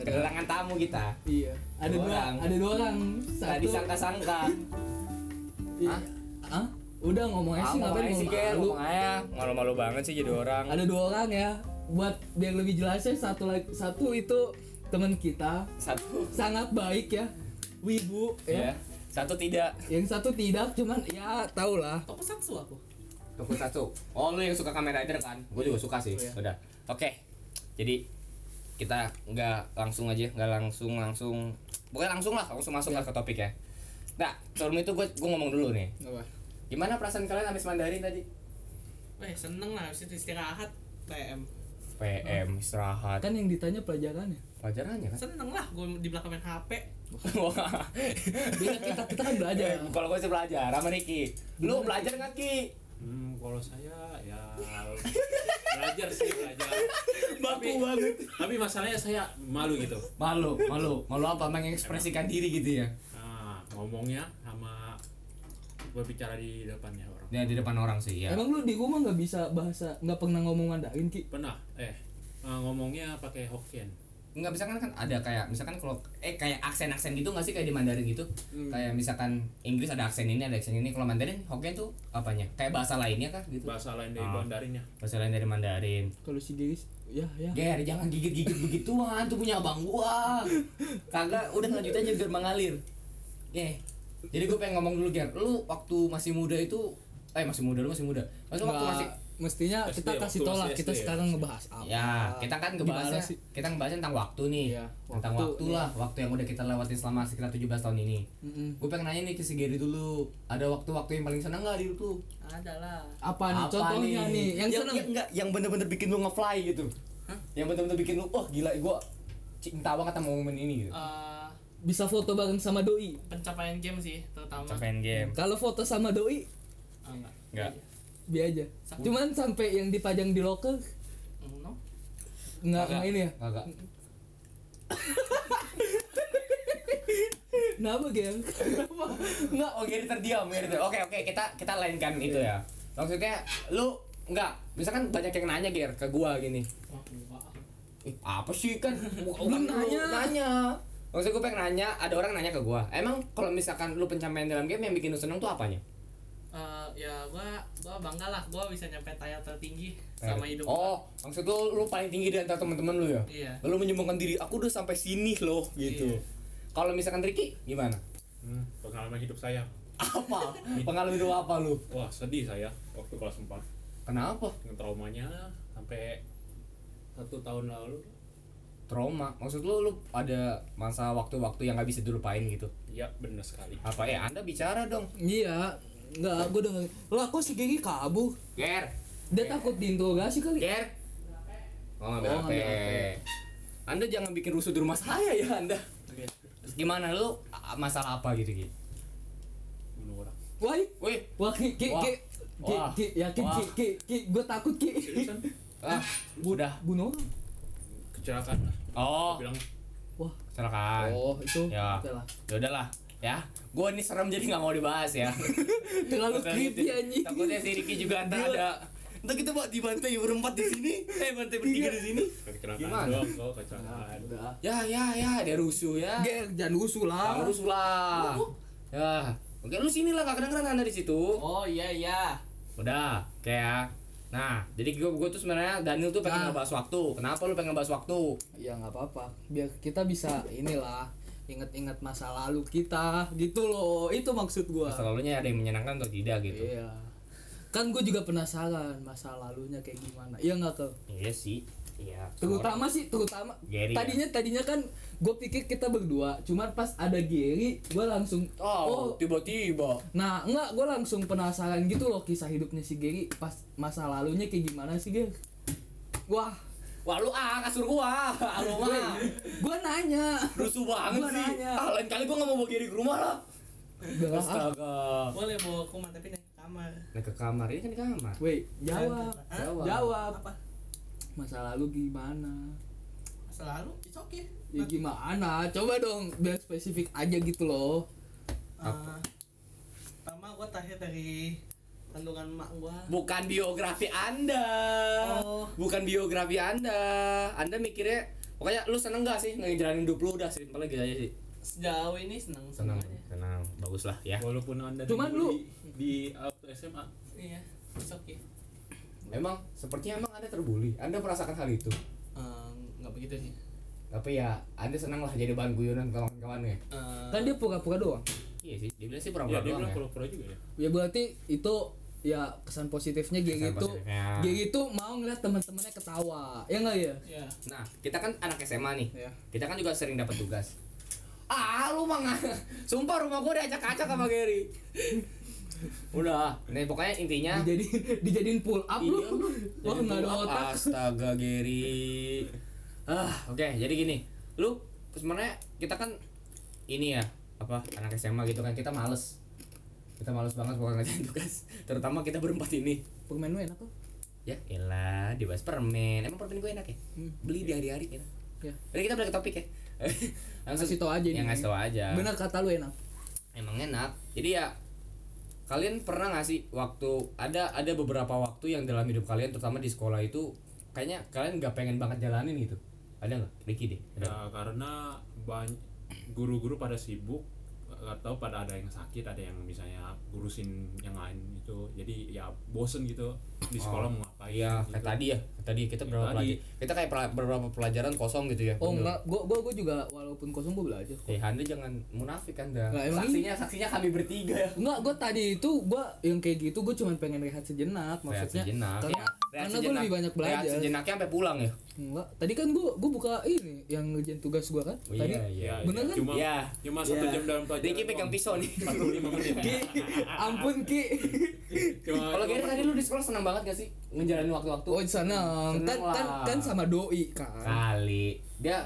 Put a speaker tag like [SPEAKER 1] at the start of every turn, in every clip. [SPEAKER 1] kedatangan tamu kita
[SPEAKER 2] Iya. Ada
[SPEAKER 1] Dua
[SPEAKER 2] dua,
[SPEAKER 1] orang.
[SPEAKER 2] ada dua orang.
[SPEAKER 1] nggak
[SPEAKER 2] Satu.
[SPEAKER 1] disangka-sangka
[SPEAKER 2] Iya. Hah? Udah ngomong aja sih
[SPEAKER 1] Ah,
[SPEAKER 2] ngapain Iya.
[SPEAKER 1] ngomong aja sih
[SPEAKER 2] ngomong
[SPEAKER 1] Ger,
[SPEAKER 2] malu.
[SPEAKER 1] ngomong aja
[SPEAKER 3] malu-malu banget sih jadi orang
[SPEAKER 2] Ada dua orang ya. Buat biar lebih jelasnya satu lagi satu itu teman kita
[SPEAKER 1] satu Iya.
[SPEAKER 2] sangat baik ya. Wibu
[SPEAKER 3] ya
[SPEAKER 2] ya.
[SPEAKER 3] satu tidak
[SPEAKER 2] Yang satu tidak cuman ya tau lah.
[SPEAKER 4] Toko satu aku.
[SPEAKER 1] Toko satu. Oh lu yang suka Kamen Rider kan? Gue juga suka sih.
[SPEAKER 2] Iya.
[SPEAKER 1] Udah. Oke. Jadi kita nggak langsung aja, nggak langsung langsung. Pokoknya langsung lah, langsung masuk
[SPEAKER 2] Iya.
[SPEAKER 1] lah ke topik ya. Nah, sebelum itu gue gue ngomong dulu nih.
[SPEAKER 2] Apa?
[SPEAKER 1] Gimana perasaan kalian habis Mandarin tadi?
[SPEAKER 4] Weh Eh, seneng lah habis itu istirahat PM.
[SPEAKER 1] PM istirahat.
[SPEAKER 2] Kan yang ditanya pelajarannya.
[SPEAKER 1] Pelajarannya kan?
[SPEAKER 4] Seneng lah gue di belakang main HP.
[SPEAKER 1] Wah.
[SPEAKER 2] Beda kita kita kan belajar.
[SPEAKER 1] Eh,
[SPEAKER 3] Iya.
[SPEAKER 1] Kalau gue sih belajar sama Riki. Lu belajar nggak Ki?
[SPEAKER 5] Hmm, kalau saya ya belajar sih belajar. Tapi-
[SPEAKER 1] banget.
[SPEAKER 5] Tapi masalahnya saya malu gitu.
[SPEAKER 3] malu malu malu apa mengekspresikan diri gitu ya
[SPEAKER 5] Nah, ngomongnya sama berbicara di depannya orang.
[SPEAKER 3] ya di depan orang sih ya
[SPEAKER 2] Emang lu di rumah nggak bisa bahasa nggak pernah ngomong Mandarin ki?
[SPEAKER 5] Pernah eh eh, ngomongnya pakai Hokkien.
[SPEAKER 3] nggak misalkan kan ada kayak misalkan kalau eh kayak aksen aksen gitu nggak sih kayak di Mandarin gitu kayak misalkan Inggris ada aksen ini ada aksen ini kalau Mandarin Hokkien tuh apanya kayak bahasa lainnya kah gitu
[SPEAKER 5] Bahasa lain dari
[SPEAKER 3] Ah.
[SPEAKER 5] Bandarinnya.
[SPEAKER 3] bahasa lain dari Mandarin
[SPEAKER 2] Kalau si Giris, ya ya.
[SPEAKER 3] Ger jangan gigit gigit begituan tuh punya abang gua kagak udah lanjut aja biar mengalir Ger jadi gue pengen ngomong dulu Ger lu waktu masih muda itu eh masih muda lu masih muda Maksudnya waktu
[SPEAKER 2] Nggak-
[SPEAKER 3] masih
[SPEAKER 2] mestinya
[SPEAKER 5] SD,
[SPEAKER 2] kita kasih
[SPEAKER 5] waktu
[SPEAKER 2] tolak
[SPEAKER 5] masih
[SPEAKER 2] kita
[SPEAKER 5] SD ya?
[SPEAKER 2] sekarang ngebahas apa
[SPEAKER 3] Ya, kita kan ngebahasnya,
[SPEAKER 2] Gimana sih?
[SPEAKER 3] kita ngebahasnya tentang waktu nih.
[SPEAKER 2] Iya,
[SPEAKER 3] tentang
[SPEAKER 2] waktu,
[SPEAKER 3] waktu
[SPEAKER 2] iya.
[SPEAKER 3] lah, waktu yang udah kita lewati selama sekitar 17 tahun ini.
[SPEAKER 2] Mm-mm.
[SPEAKER 3] Gue pengen nanya nih ke si Gary dulu, ada waktu-waktu yang paling seneng gak di hidup lu?
[SPEAKER 4] Ada lah.
[SPEAKER 2] apa nih contohnya nih, yang seneng
[SPEAKER 3] yang, Ya, enggak, yang bener-bener bikin lu ngefly gitu. Yang bener-bener bikin lu, wah gila gua cinta banget sama momen ini gitu.
[SPEAKER 4] Eh,
[SPEAKER 2] bisa foto bareng sama doi
[SPEAKER 4] pencapaian game sih terutama.
[SPEAKER 3] Capain game.
[SPEAKER 2] kalau foto sama doi
[SPEAKER 4] Ah, enggak.
[SPEAKER 3] Enggak.
[SPEAKER 2] biar aja cuman sampai yang dipajang di loker
[SPEAKER 4] Mm, No.
[SPEAKER 2] nggak nggak ini ya
[SPEAKER 3] Enggak.
[SPEAKER 2] kenapa gem
[SPEAKER 3] Enggak, oh Gary terdiam, Gary terdiam. Oke, oke, kita kita lainkan itu ya. Maksudnya lu enggak, misalkan banyak yang nanya Ger ke gua gini.
[SPEAKER 4] Wah, lupa.
[SPEAKER 3] Ih, apa sih kan
[SPEAKER 2] Belum
[SPEAKER 3] belum
[SPEAKER 2] nanya.
[SPEAKER 3] nanya nanya maksud gue pengen nanya ada orang nanya ke gue emang kalau misalkan lu pencapaian dalam game yang bikin lu seneng tuh apanya
[SPEAKER 4] Eh, ya gua gua bangga lah gua bisa nyampe tier tertinggi sama hidup gua.
[SPEAKER 3] oh maksud lu lu paling tinggi di antara teman-teman lu ya
[SPEAKER 4] Iya.
[SPEAKER 3] lu menyumbangkan diri aku udah sampai sini loh gitu
[SPEAKER 4] Iya.
[SPEAKER 3] kalau misalkan Ricky gimana
[SPEAKER 5] Hmm, pengalaman hidup saya.
[SPEAKER 3] apa pengalaman lu apa lu
[SPEAKER 5] Wah, sedih saya waktu kelas 4.
[SPEAKER 3] kenapa
[SPEAKER 5] Dengan traumanya sampai satu tahun lalu.
[SPEAKER 3] trauma maksud lu lu ada masa waktu-waktu yang gak bisa dilupain gitu
[SPEAKER 5] Ya, benar sekali.
[SPEAKER 3] apa ya anda bicara dong
[SPEAKER 2] iya nggak gue denger lah kok si Gigi kabur
[SPEAKER 3] Ger
[SPEAKER 2] dia takut diinterogasi kali
[SPEAKER 3] Ger. Oh, ngambil
[SPEAKER 2] Oh,
[SPEAKER 3] HP.
[SPEAKER 2] ngambil HP.
[SPEAKER 3] Anda jangan bikin rusuh di rumah saya ya Anda. Terus gimana lu a- masalah apa gitu gitu?
[SPEAKER 5] Bunuh orang.
[SPEAKER 2] wah
[SPEAKER 3] Wih,
[SPEAKER 2] wah ki ki
[SPEAKER 3] Wah.
[SPEAKER 2] ki ki
[SPEAKER 3] Wah.
[SPEAKER 2] ki yakin ki ki ki gue takut ki
[SPEAKER 5] Seriusan?
[SPEAKER 3] ah, udah.
[SPEAKER 2] bunuh orang.
[SPEAKER 5] Kecelakaan. lah.
[SPEAKER 3] Oh,
[SPEAKER 5] Bilang
[SPEAKER 2] wah
[SPEAKER 3] kecelakaan.
[SPEAKER 2] oh itu
[SPEAKER 3] Ya.
[SPEAKER 2] Oke lah.
[SPEAKER 3] Ya udahlah, ya. Gua ini serem jadi nggak mau dibahas ya.
[SPEAKER 2] terlalu
[SPEAKER 3] Takutnya
[SPEAKER 2] creepy
[SPEAKER 3] gitu.
[SPEAKER 2] anjing
[SPEAKER 3] Takutnya si Ricky juga ntar ada. Ntar kita buat dibantai berempat di sini, eh bantai bertiga di sini.
[SPEAKER 5] kecelakaan
[SPEAKER 3] Gimana?
[SPEAKER 5] doang kok, kecelakaan.
[SPEAKER 2] Udah.
[SPEAKER 3] Ya, ya, ya, ada rusuh ya.
[SPEAKER 2] Ger, jangan usul lah.
[SPEAKER 3] Harus lah. Ya, oke lu sini lah, gak kedengeran Anda di situ.
[SPEAKER 4] Oh iya iya.
[SPEAKER 3] Udah, kayak Nah, jadi gue gue tuh sebenarnya Daniel tuh pengen
[SPEAKER 2] Nah.
[SPEAKER 3] ngebahas waktu. Kenapa lu pengen ngebahas waktu?
[SPEAKER 2] Ya nggak apa-apa. Biar kita bisa inilah inget-inget masa lalu kita gitu loh. Itu maksud gua.
[SPEAKER 3] Masa lalunya ada yang menyenangkan atau tidak gitu.
[SPEAKER 2] Iya. Kan gue juga penasaran masa lalunya kayak gimana. Iya nggak ke?
[SPEAKER 3] Iya sih. Iya. semua orang.
[SPEAKER 2] Terutama sih, terutama
[SPEAKER 3] Gary, ya?
[SPEAKER 2] tadinya tadinya kan gue pikir kita berdua, cuman pas ada Gary, gue langsung
[SPEAKER 3] Oh, tiba-tiba.
[SPEAKER 2] Nah, enggak, gue langsung penasaran gitu loh kisah hidupnya si Gary pas masa lalunya kayak gimana sih, Ger? Wah,
[SPEAKER 3] Wah, lu ah kasur gua. Lu mah
[SPEAKER 2] gue nanya.
[SPEAKER 3] rusuh banget
[SPEAKER 2] Gua
[SPEAKER 3] sih.
[SPEAKER 2] nanya.
[SPEAKER 3] Ah, lain kali gua nggak mau bawa diri ke rumah lah.
[SPEAKER 2] Udah lah, ah.
[SPEAKER 3] Astaga.
[SPEAKER 4] Boleh bawa kuman tapi naik ke kamar.
[SPEAKER 3] Nah, ke kamar ini kan di kamar.
[SPEAKER 2] Wait, jawab.
[SPEAKER 4] Hah?
[SPEAKER 3] Jawab.
[SPEAKER 2] Jawab.
[SPEAKER 4] Apa?
[SPEAKER 2] Masa lalu gimana?
[SPEAKER 4] Selalu it's okay.
[SPEAKER 2] Ya gimana? Coba dong, biar spesifik aja gitu loh.
[SPEAKER 4] Eh, pertama gua tahir dari kandungan mak gua.
[SPEAKER 3] Bukan biografi Anda.
[SPEAKER 4] Oh.
[SPEAKER 3] Bukan biografi Anda. Anda mikirnya pokoknya lu seneng gak sih ngejalanin hidup lu udah simpel gitu aja sih
[SPEAKER 4] Sejauh ini seneng
[SPEAKER 3] seneng
[SPEAKER 4] semuanya.
[SPEAKER 3] seneng bagus lah ya
[SPEAKER 5] Walaupun anda
[SPEAKER 2] Cuman lu-
[SPEAKER 5] dibully di uh, waktu SMA
[SPEAKER 4] Iya, it's okay.
[SPEAKER 3] emang sepertinya emang anda terbuli anda merasakan hal itu
[SPEAKER 4] Eh, nggak begitu sih.
[SPEAKER 3] tapi ya anda seneng lah jadi bahan guyonan kawan-kawannya Ah.
[SPEAKER 4] Eh,
[SPEAKER 2] Kan dia pura-pura doang.
[SPEAKER 3] iya sih dia bilang sih pura
[SPEAKER 5] ya
[SPEAKER 3] pura
[SPEAKER 5] dia
[SPEAKER 3] doang
[SPEAKER 5] bilang
[SPEAKER 3] ya
[SPEAKER 5] pura-pura juga ya
[SPEAKER 2] Ya berarti itu ya kesan positifnya Gigi
[SPEAKER 3] Kesan
[SPEAKER 2] itu
[SPEAKER 3] positifnya.
[SPEAKER 2] Gigi itu gitu mau ngeliat teman-temannya ketawa. Ya enggak ya?
[SPEAKER 4] Iya.
[SPEAKER 3] nah kita kan anak SMA nih
[SPEAKER 2] Iya.
[SPEAKER 3] kita kan juga sering dapat tugas ah lu mah nggak- sumpah rumah gua diacak-acak sama Gary udah nah pokoknya intinya
[SPEAKER 2] Dijadi dijadiin pull up lu.
[SPEAKER 3] Iya, lu.
[SPEAKER 2] Wah,
[SPEAKER 3] Jadi
[SPEAKER 2] enggak ada
[SPEAKER 3] pull up,
[SPEAKER 2] otak.
[SPEAKER 3] Astaga Gary. Ah, oke, jadi gini. Lu sebenarnya kita kan ini ya, apa anak SMA gitu kan kita males. Kita males banget bukan ngerjain tugas, terutama kita berempat ini.
[SPEAKER 2] Permen lu enak tuh.
[SPEAKER 3] Ya, elah, dibahas permen. Emang permen gue enak ya?
[SPEAKER 2] Hmm.
[SPEAKER 3] Beli di hari-hari enak.
[SPEAKER 2] Ya.
[SPEAKER 3] Jadi kita balik ke topik ya. Langsung
[SPEAKER 2] Kasih tau aja
[SPEAKER 3] Ya,
[SPEAKER 2] nih.
[SPEAKER 3] ngasih tau aja.
[SPEAKER 2] Bener kata lu enak.
[SPEAKER 3] Emang enak. Jadi ya kalian pernah nggak sih waktu ada ada beberapa waktu yang dalam hidup kalian terutama di sekolah itu kayaknya kalian nggak pengen banget jalanin gitu ada nggak Ricky deh
[SPEAKER 5] Ya,
[SPEAKER 3] ada.
[SPEAKER 5] karena banyak guru-guru pada sibuk atau pada ada yang sakit ada yang misalnya ngurusin yang lain gitu jadi ya bosen gitu di sekolah mau ngapain
[SPEAKER 3] Oh. iya
[SPEAKER 5] gitu.
[SPEAKER 3] kayak tadi ya kayak tadi kita
[SPEAKER 5] Kayak
[SPEAKER 3] berapa
[SPEAKER 5] tadi.
[SPEAKER 3] pelajaran kita kayak pela- beberapa pelajaran kosong gitu ya
[SPEAKER 2] Oh
[SPEAKER 3] bener.
[SPEAKER 2] enggak, gua gua gua juga walaupun kosong gua belajar.
[SPEAKER 3] eh anda jangan munafik anda
[SPEAKER 2] Lah, emang
[SPEAKER 3] saksinya saksinya kami bertiga
[SPEAKER 2] Enggak, gue tadi itu gue yang kayak gitu gue cuma pengen rehat sejenak
[SPEAKER 3] Rehat
[SPEAKER 2] maksudnya.
[SPEAKER 3] sejenak.
[SPEAKER 2] Karena,
[SPEAKER 3] Ya, rehat
[SPEAKER 2] karena gue
[SPEAKER 3] sejenak.
[SPEAKER 2] lebih banyak belajar.
[SPEAKER 3] rehat sejenaknya sampai pulang ya
[SPEAKER 2] Enggak, tadi kan gue gue buka ini yang ngerjain tugas gue kan.
[SPEAKER 3] Oh,
[SPEAKER 2] tadi
[SPEAKER 3] iya iya
[SPEAKER 5] ya,
[SPEAKER 2] Bener
[SPEAKER 5] ya,
[SPEAKER 2] kan?
[SPEAKER 5] cuma
[SPEAKER 3] Iya.
[SPEAKER 5] cuma satu
[SPEAKER 3] Iya.
[SPEAKER 5] jam dalam pelajaran
[SPEAKER 3] Ricky pegang pisau nih
[SPEAKER 5] 45 menit ya.
[SPEAKER 2] Ki, ampun Ki.
[SPEAKER 5] Cuma-
[SPEAKER 3] kalau
[SPEAKER 5] cuma-
[SPEAKER 3] Gary tadi lu di sekolah senang banget gak sih ngejalanin waktu-waktu
[SPEAKER 2] Oh seneng.
[SPEAKER 3] Seneng
[SPEAKER 2] Kan, kan
[SPEAKER 3] lah.
[SPEAKER 2] kan sama doi kan.
[SPEAKER 3] kali dia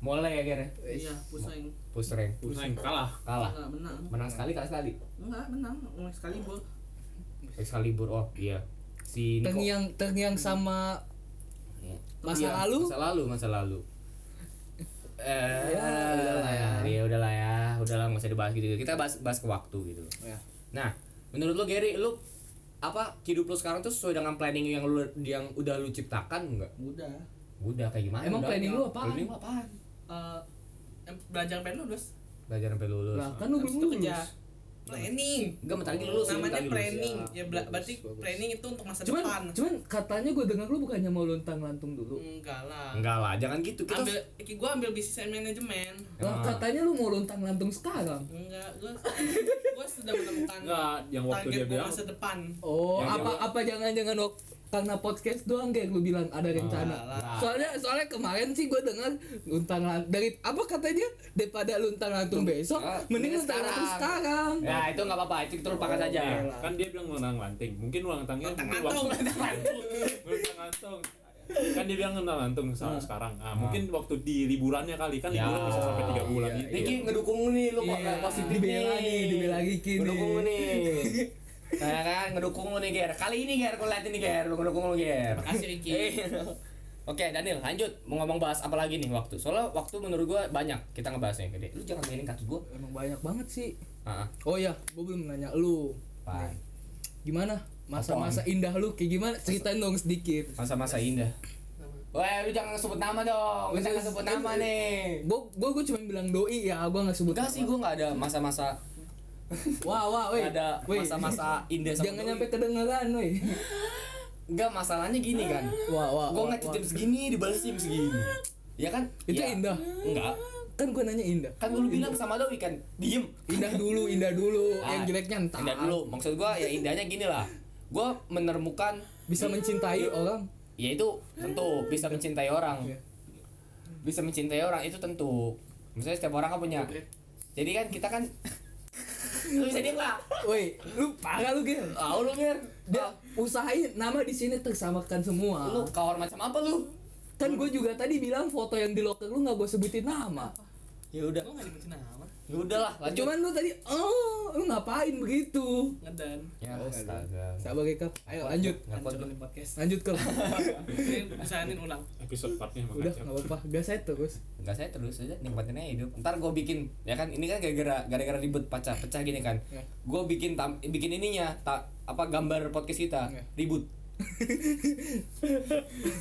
[SPEAKER 3] mulai ya Gary
[SPEAKER 4] Iya, pusing.
[SPEAKER 3] pusreng
[SPEAKER 5] pusing kalah
[SPEAKER 3] kalah
[SPEAKER 4] Enggak menang.
[SPEAKER 3] menang sekali kalah sekali
[SPEAKER 4] Enggak menang. Mulai sekali, Bo.
[SPEAKER 3] Excalibur oh iya si Nico
[SPEAKER 2] Terngiang terngiang sama
[SPEAKER 3] Iya.
[SPEAKER 2] masa
[SPEAKER 3] Iya,
[SPEAKER 2] lalu.
[SPEAKER 3] masa lalu masa lalu eh
[SPEAKER 2] Ya, udahlah ya.
[SPEAKER 3] ya udahlah ya udahlah nggak usah dibahas gitu kita bahas bahas ke waktu gitu
[SPEAKER 2] Ya.
[SPEAKER 3] nah menurut lo Gary lu apa hidup lu sekarang tuh sesuai dengan planning yang lu yang udah lu ciptakan nggak
[SPEAKER 4] Udah.
[SPEAKER 3] udah kayak gimana
[SPEAKER 2] Emang
[SPEAKER 3] udah,
[SPEAKER 2] planning
[SPEAKER 3] ya.
[SPEAKER 2] lu apaan?
[SPEAKER 3] planning lu apaan
[SPEAKER 4] Eh, em, belajar pengen lulus.
[SPEAKER 3] belajar sampai lulus
[SPEAKER 2] Lah kan lu
[SPEAKER 4] Habis
[SPEAKER 2] belum
[SPEAKER 4] itu
[SPEAKER 2] lulus.
[SPEAKER 4] kerja. Planning.
[SPEAKER 3] Enggak bentar lagi lulus bentar
[SPEAKER 4] Namanya
[SPEAKER 3] lagi lulus.
[SPEAKER 4] planning.
[SPEAKER 2] lulus.
[SPEAKER 4] Ya, bela-
[SPEAKER 2] Bagus,
[SPEAKER 4] berarti
[SPEAKER 2] bagus.
[SPEAKER 4] planning itu untuk masa
[SPEAKER 2] Cuman
[SPEAKER 4] depan.
[SPEAKER 2] cuman katanya gue dengar lu bukannya mau lontang lantung dulu.
[SPEAKER 3] Hmm.
[SPEAKER 4] Enggak lah.
[SPEAKER 3] enggak lah jangan gitu kita
[SPEAKER 4] Ambil gua ambil bisnis and manajemen.
[SPEAKER 2] Lah
[SPEAKER 3] Ah.
[SPEAKER 2] Nah, katanya lu mau lontang lantung sekarang.
[SPEAKER 4] Enggak, gua gua sudah menemukan
[SPEAKER 5] Enggak, yang
[SPEAKER 4] target
[SPEAKER 5] waktu dia
[SPEAKER 4] gua
[SPEAKER 5] bilang-
[SPEAKER 4] masa depan.
[SPEAKER 2] Oh,
[SPEAKER 3] Ya,
[SPEAKER 2] apa apa jangan-jangan wak- karena podcast doang kayak lu bilang ada rencana.
[SPEAKER 4] lah.
[SPEAKER 2] soalnya soalnya kemarin sih gue dengar luntang lan- dari apa katanya daripada luntang lantung besok
[SPEAKER 3] Ah, mending
[SPEAKER 2] mending luntang lantung
[SPEAKER 3] sekarang.
[SPEAKER 2] sekarang.
[SPEAKER 3] ya itu nggak apa-apa itu kita lupakan saja
[SPEAKER 5] Iya, kan dia bilang menang lanting mungkin ulang tangnya
[SPEAKER 4] Lontang
[SPEAKER 5] mungkin
[SPEAKER 4] lantung,
[SPEAKER 5] waktu-
[SPEAKER 4] lontang lantung.
[SPEAKER 5] Lontang lantung. kan dia bilang menang lantung sa- sekarang ah, mungkin waktu di liburannya kali kan
[SPEAKER 3] Hmm. Ya.
[SPEAKER 5] liburan bisa sampai tiga bulan
[SPEAKER 2] Iya,
[SPEAKER 5] gitu
[SPEAKER 3] Niki ngedukung nih lu kok
[SPEAKER 2] Iya.
[SPEAKER 3] nggak positif
[SPEAKER 2] Dibela nih, dibela Niki nih.
[SPEAKER 3] Ngedukung lu nih. Nah, kan ngedukung lu nih Ger. Kali ini Ger, gua liatin nih Ger, lu ngedukung lu Ger.
[SPEAKER 4] Makasih, Ricky.
[SPEAKER 3] Eh. Oke, Daniel, lanjut mau ngomong bahas apa lagi nih waktu. Soalnya waktu menurut gua banyak kita ngebahasnya gede. Lu jangan mainin kaki gua.
[SPEAKER 2] Emang banyak banget sih.
[SPEAKER 3] Heeh.
[SPEAKER 2] Oh ya, gue belum nanya lu.
[SPEAKER 3] Apaan?
[SPEAKER 2] Gimana? Masa-masa indah lu kayak gimana? Ceritain dong sedikit.
[SPEAKER 3] Masa-masa indah. Wah, lu jangan sebut nama dong. Lu jangan
[SPEAKER 2] Terus-
[SPEAKER 3] sebut nama nih.
[SPEAKER 2] Gue gue gue cuma bilang doi ya, gue nggak sebut.
[SPEAKER 3] Enggak
[SPEAKER 2] nama.
[SPEAKER 3] sih, gua nggak ada masa-masa
[SPEAKER 2] Wah wah, weh.
[SPEAKER 3] nggak ada
[SPEAKER 2] Weh.
[SPEAKER 3] masa-masa indah sama
[SPEAKER 2] Jangan
[SPEAKER 3] doi.
[SPEAKER 2] nyampe kedengeran, weh.
[SPEAKER 3] Enggak, masalahnya gini kan.
[SPEAKER 2] Wah wah.
[SPEAKER 3] Gua
[SPEAKER 2] wah,
[SPEAKER 3] ngechat
[SPEAKER 2] wah.
[SPEAKER 3] jam segini dibalas jam segini. Ya kan?
[SPEAKER 2] Itu
[SPEAKER 3] Ya.
[SPEAKER 2] indah.
[SPEAKER 3] Enggak.
[SPEAKER 2] Kan gue nanya indah.
[SPEAKER 3] Kan lu bilang sama Doi kan, diem.
[SPEAKER 2] Indah dulu, indah dulu.
[SPEAKER 3] Ah,
[SPEAKER 2] Yang jeleknya entar.
[SPEAKER 3] Indah dulu. Maksud gua ya indahnya gini lah. Gua menemukan
[SPEAKER 2] Bisa mencintai orang.
[SPEAKER 3] ya itu tentu bisa mencintai orang.
[SPEAKER 2] Iya.
[SPEAKER 3] Bisa mencintai orang itu tentu. Misalnya setiap orang kan punya. Jadi kan kita kan lu bisa diem lah.
[SPEAKER 2] Woi, lu parah lu Gil.
[SPEAKER 3] Tahu lu Mir.
[SPEAKER 2] Dia usahain nama di sini tersamakan
[SPEAKER 3] Ah,
[SPEAKER 2] semua.
[SPEAKER 3] Lu kawar macam apa lu?
[SPEAKER 2] kan gue juga tadi bilang foto yang di loker lu nggak gue sebutin nama.
[SPEAKER 3] Ya udah.
[SPEAKER 4] Gua enggak dibenci nama.
[SPEAKER 3] Ya udahlah, lanjut.
[SPEAKER 2] Cuman lu tadi, oh, lu ngapain begitu?
[SPEAKER 4] Ngedan.
[SPEAKER 3] ya astaga.
[SPEAKER 2] Sabar Kek. Ayo lanjut.
[SPEAKER 3] Nggak kuat gua.
[SPEAKER 4] Hancurin podcast.
[SPEAKER 2] Lanjut ke.
[SPEAKER 4] Ini usahain ulang.
[SPEAKER 5] episode 4 nya emang
[SPEAKER 2] Udah
[SPEAKER 5] kacau.
[SPEAKER 2] nggak apa-apa. Biasa itu terus.
[SPEAKER 3] Enggak saya terus aja nikmatin aja hidup. Ntar gue bikin ya kan ini kan gara-gara gara-gara ribut pecah pecah gini kan.
[SPEAKER 2] Ya.
[SPEAKER 3] Gue bikin tam, bikin ininya ta, apa gambar podcast kita
[SPEAKER 2] Ya.
[SPEAKER 3] ribut Iya.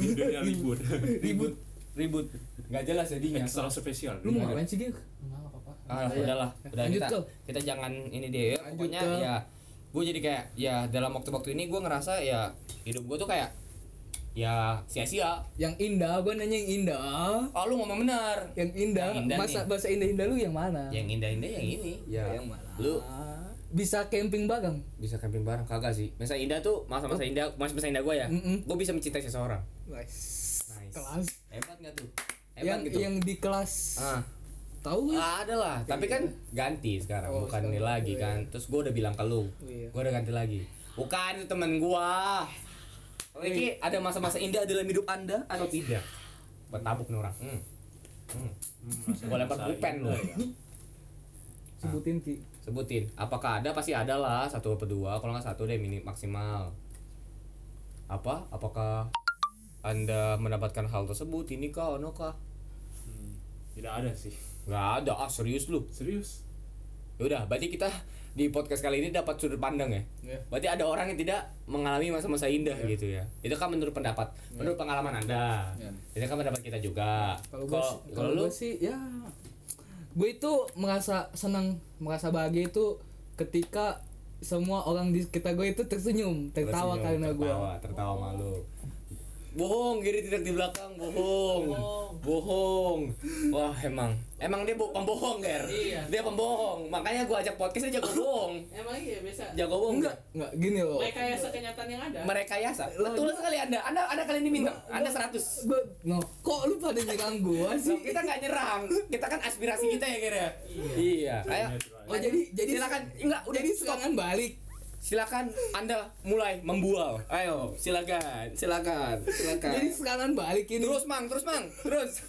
[SPEAKER 5] di dunia libur
[SPEAKER 3] ribut ribut nggak jelas jadinya
[SPEAKER 5] Extra spesial.
[SPEAKER 2] Lu mau ngapain sih, Gil?
[SPEAKER 4] Enggak apa-apa.
[SPEAKER 3] ah
[SPEAKER 2] Iya.
[SPEAKER 3] udahlah udah
[SPEAKER 2] Lanjut,
[SPEAKER 3] kita
[SPEAKER 2] Kel.
[SPEAKER 3] kita jangan ini deh
[SPEAKER 2] Lanjut,
[SPEAKER 3] pokoknya
[SPEAKER 2] Kel.
[SPEAKER 3] ya gue jadi kayak ya dalam waktu-waktu ini gue ngerasa ya hidup gue tuh kayak ya sia-sia
[SPEAKER 2] Yang indah, gua nanya yang indah.
[SPEAKER 3] ah lu ngomong benar
[SPEAKER 2] Yang indah,
[SPEAKER 3] Yang indah
[SPEAKER 2] bahasa
[SPEAKER 3] nih.
[SPEAKER 2] bahasa indah-indah lu yang mana?
[SPEAKER 3] yang indah-indah yang ini
[SPEAKER 2] Ya, yang mana?
[SPEAKER 3] lu
[SPEAKER 2] Bisa camping bagang.
[SPEAKER 3] bisa camping bareng kagak sih masa indah tuh masa-masa indah masa-masa indah gue ya
[SPEAKER 2] Mm-mm.
[SPEAKER 3] gue bisa mencintai seseorang
[SPEAKER 2] Nice.
[SPEAKER 3] Nice.
[SPEAKER 2] Kelas.
[SPEAKER 3] hebat nggak tuh
[SPEAKER 2] yang
[SPEAKER 3] hebat gitu
[SPEAKER 2] yang di kelas.
[SPEAKER 3] ah
[SPEAKER 2] Tahu nggak?
[SPEAKER 3] Ah, ada lah, tapi kan ganti sekarang,
[SPEAKER 2] Iya, Oh,
[SPEAKER 3] bukan
[SPEAKER 2] sekarang.
[SPEAKER 3] ini lagi kan. Terus gue udah bilang ke lu,
[SPEAKER 2] Iya.
[SPEAKER 3] gue udah ganti lagi. Bukan itu temen gua.
[SPEAKER 2] Oh,
[SPEAKER 3] Ini
[SPEAKER 2] iya.
[SPEAKER 3] ada masa-masa indah dalam hidup anda atau tidak? Gua tabuk nih orang. Hmm. Hmm. Gua lempar pulpen lu.
[SPEAKER 2] ya.
[SPEAKER 5] ya.
[SPEAKER 2] Sebutin Ki.
[SPEAKER 3] Sebutin, apakah ada? Pasti ada lah, satu atau dua. Kalau nggak satu deh mini maksimal. Apa? Apakah anda mendapatkan hal tersebut? Ini kah, ono kah?
[SPEAKER 5] Tidak ada sih.
[SPEAKER 3] Gak ada, ah serius lu.
[SPEAKER 5] Serius?
[SPEAKER 3] Yaudah, Ya berarti kita di podcast kali ini dapat sudut pandang ya.
[SPEAKER 2] Iya.
[SPEAKER 3] Berarti ada orang yang tidak mengalami masa-masa indah gitu ya. Itu kan menurut pendapat,
[SPEAKER 2] Iya.
[SPEAKER 3] menurut pengalaman Anda. Itu kan pendapat kita juga.
[SPEAKER 2] Kalau gua sih- kalau
[SPEAKER 3] lu
[SPEAKER 2] gua sih ya gue itu merasa senang, merasa bahagia itu ketika semua orang di sekitar gue itu tersenyum,
[SPEAKER 3] tersenyum,
[SPEAKER 2] tertawa karena gue.
[SPEAKER 3] tertawa, tertawa malu. Bohong, kiri tidak di belakang, bohong. Bohong. Wah, emang. Emang dia bo- pembohong, Ger.
[SPEAKER 4] Iya.
[SPEAKER 3] Dia pembohong. Makanya gua ajak podcast dia jago bohong.
[SPEAKER 4] Emang iya biasa.
[SPEAKER 3] Jago bohong
[SPEAKER 2] Enggak, enggak gini loh.
[SPEAKER 4] Mereka ya sekenyataan yang ada.
[SPEAKER 3] Mereka yasa. Betul sekali Anda. Anda Anda kali ini minta. Anda 100.
[SPEAKER 2] Gua, no, kok lu pada nyerang gue
[SPEAKER 3] Loh,
[SPEAKER 2] sih?
[SPEAKER 3] kita nggak nyerang, kita kan aspirasi kita ya kira. Iya. Ayo.
[SPEAKER 2] Oh jadi jadi
[SPEAKER 3] silakan enggak udah
[SPEAKER 2] jadi serangan balik.
[SPEAKER 3] silakan Anda mulai membual. Ayo, silakan, silakan, silakan.
[SPEAKER 2] Jadi serangan balik ini.
[SPEAKER 3] Nah. terus Mang, terus Mang, terus.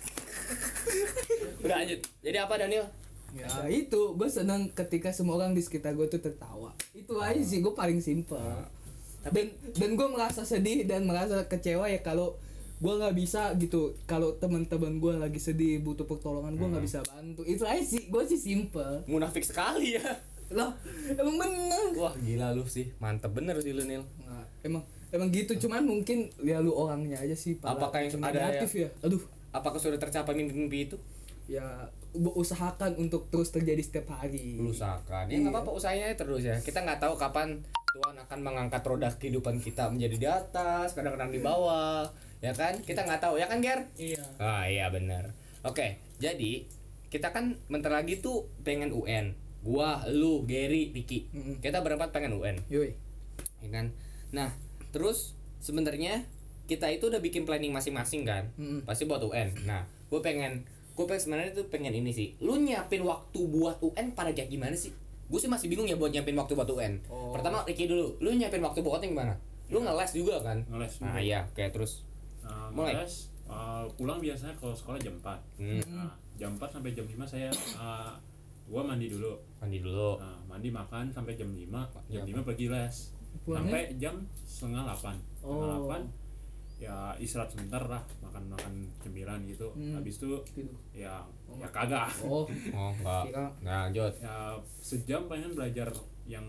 [SPEAKER 3] udah lanjut. Jadi apa Daniel?
[SPEAKER 2] Ya, itu gue senang ketika semua orang di sekitar gue tuh tertawa. Itu
[SPEAKER 3] Ah.
[SPEAKER 2] aja sih gue paling simple. dan dan gue merasa sedih dan merasa kecewa ya kalau gue nggak bisa gitu kalau teman-teman gue lagi sedih butuh pertolongan gue nggak
[SPEAKER 3] Hmm.
[SPEAKER 2] bisa bantu itu aja sih gue sih simple
[SPEAKER 3] Munafik sekali ya.
[SPEAKER 2] loh emang bener
[SPEAKER 3] Wah, gila lu sih. Mantep bener sih lu, Nil.
[SPEAKER 2] Nggak, emang emang gitu cuman mungkin ya lu orangnya aja sih
[SPEAKER 3] Ah.
[SPEAKER 2] pala-
[SPEAKER 3] Apakah yang ada
[SPEAKER 2] negatif ya aduh
[SPEAKER 3] Apakah sudah tercapai mimpi-mimpi itu?
[SPEAKER 2] ya gua usahakan untuk terus terjadi setiap hari
[SPEAKER 3] Lu usahakan. Ya nggak apa-apa usahanya aja terus ya. Kita nggak tahu kapan Tuhan akan mengangkat roda kehidupan kita menjadi di atas, kadang-kadang di bawah. Ya kan? Kita nggak tahu ya kan, Ger?
[SPEAKER 4] Iya.
[SPEAKER 3] Ah iya benar. Oke, jadi kita kan bentar lagi tuh pengen UN. Gua, lu, Gary, Diki.
[SPEAKER 2] Mm-mm.
[SPEAKER 3] Kita berempat pengen UN,
[SPEAKER 2] yoi
[SPEAKER 3] ya kan? Nah, terus sebenarnya kita itu udah bikin planning masing-masing kan?
[SPEAKER 2] Mm-mm.
[SPEAKER 3] Pasti buat UN. Nah, gue pengen gue pengen sebenarnya tuh pengen ini sih. Lu nyiapin waktu buat UN pada kayak gimana sih? Gue sih masih bingung ya buat nyiapin waktu buat UN.
[SPEAKER 2] Oh.
[SPEAKER 3] Pertama Ricky dulu, lu nyiapin waktu buatnya gimana? Lu ngeles juga kan?
[SPEAKER 5] Ya. Ngeles
[SPEAKER 3] Nah,
[SPEAKER 5] juga.
[SPEAKER 3] iya, kayak terus.
[SPEAKER 5] Nah,
[SPEAKER 3] Mulai.
[SPEAKER 5] ngeles, eh, pulang biasanya kalau sekolah jam 4.
[SPEAKER 3] Hmm,
[SPEAKER 5] Nah, jam 4 sampai jam 5 saya eh, gua mandi dulu.
[SPEAKER 3] mandi dulu.
[SPEAKER 5] Nah, mandi makan sampai jam 5, jam
[SPEAKER 3] Iya.
[SPEAKER 5] 5 pergi les. Sampai
[SPEAKER 3] ya?
[SPEAKER 5] jam setengah 8. Setengah
[SPEAKER 2] Oh.
[SPEAKER 5] 8 ya istirahat sebentar lah, makan-makan cemilan gitu.
[SPEAKER 2] Hmm.
[SPEAKER 5] Habis itu
[SPEAKER 2] Gitu.
[SPEAKER 5] ya ya kagak.
[SPEAKER 2] oh
[SPEAKER 3] Oh, enggak.
[SPEAKER 2] Kira-
[SPEAKER 3] Nah, lanjut.
[SPEAKER 5] Ya sejam pengen belajar yang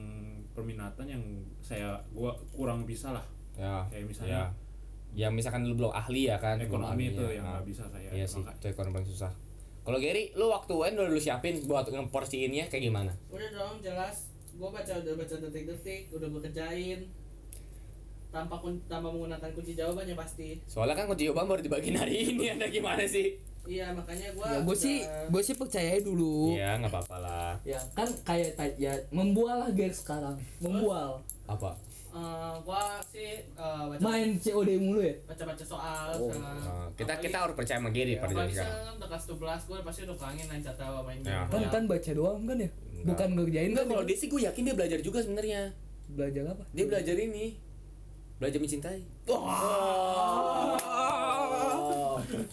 [SPEAKER 5] perminatan yang saya gua kurang bisa lah.
[SPEAKER 3] ya
[SPEAKER 5] Kayak misalnya
[SPEAKER 3] ya. yang misalkan lu belum ahli ya kan belum
[SPEAKER 5] ekonomi
[SPEAKER 3] ahli
[SPEAKER 5] itu
[SPEAKER 3] ya.
[SPEAKER 5] yang
[SPEAKER 3] Nah,
[SPEAKER 5] nggak bisa saya.
[SPEAKER 3] iya sih
[SPEAKER 5] Maka-
[SPEAKER 3] itu ekonomi paling susah kalau Gary lu waktu UN udah lu siapin buat ngeporsiinnya kayak gimana
[SPEAKER 4] Udah dong jelas. Gua baca udah baca detik-detik, udah gua kerjain. Tanpa kun tanpa menggunakan kunci jawabannya pasti.
[SPEAKER 3] soalnya kan kunci jawaban baru dibagiin hari ini ada gimana sih
[SPEAKER 4] Iya, makanya gua
[SPEAKER 2] ya gue sih
[SPEAKER 4] udah-
[SPEAKER 2] gue sih percaya dulu
[SPEAKER 3] Iya nggak apa-apa lah
[SPEAKER 2] ya kan kayak ta- ya membual lah guys sekarang membual
[SPEAKER 3] apa
[SPEAKER 4] Eh, gua sih eh, baca
[SPEAKER 2] main COD mulu ya
[SPEAKER 4] baca-baca soal
[SPEAKER 2] Oh,
[SPEAKER 3] Nah,
[SPEAKER 4] sama
[SPEAKER 3] kita kita harus percaya sama Gary pada
[SPEAKER 4] kalau
[SPEAKER 3] jadi sekarang
[SPEAKER 4] bisa udah kelas 12 gue pasti udah kangen aja tahu main game.
[SPEAKER 3] Ya.
[SPEAKER 2] kan
[SPEAKER 4] Gua-
[SPEAKER 2] kan baca doang kan ya bukan ngerjain
[SPEAKER 3] Eh, enggak
[SPEAKER 2] kan
[SPEAKER 3] kalau dia sih gue yakin dia belajar juga sebenarnya
[SPEAKER 2] belajar apa
[SPEAKER 3] dia belajar ini belajar mencintai oh,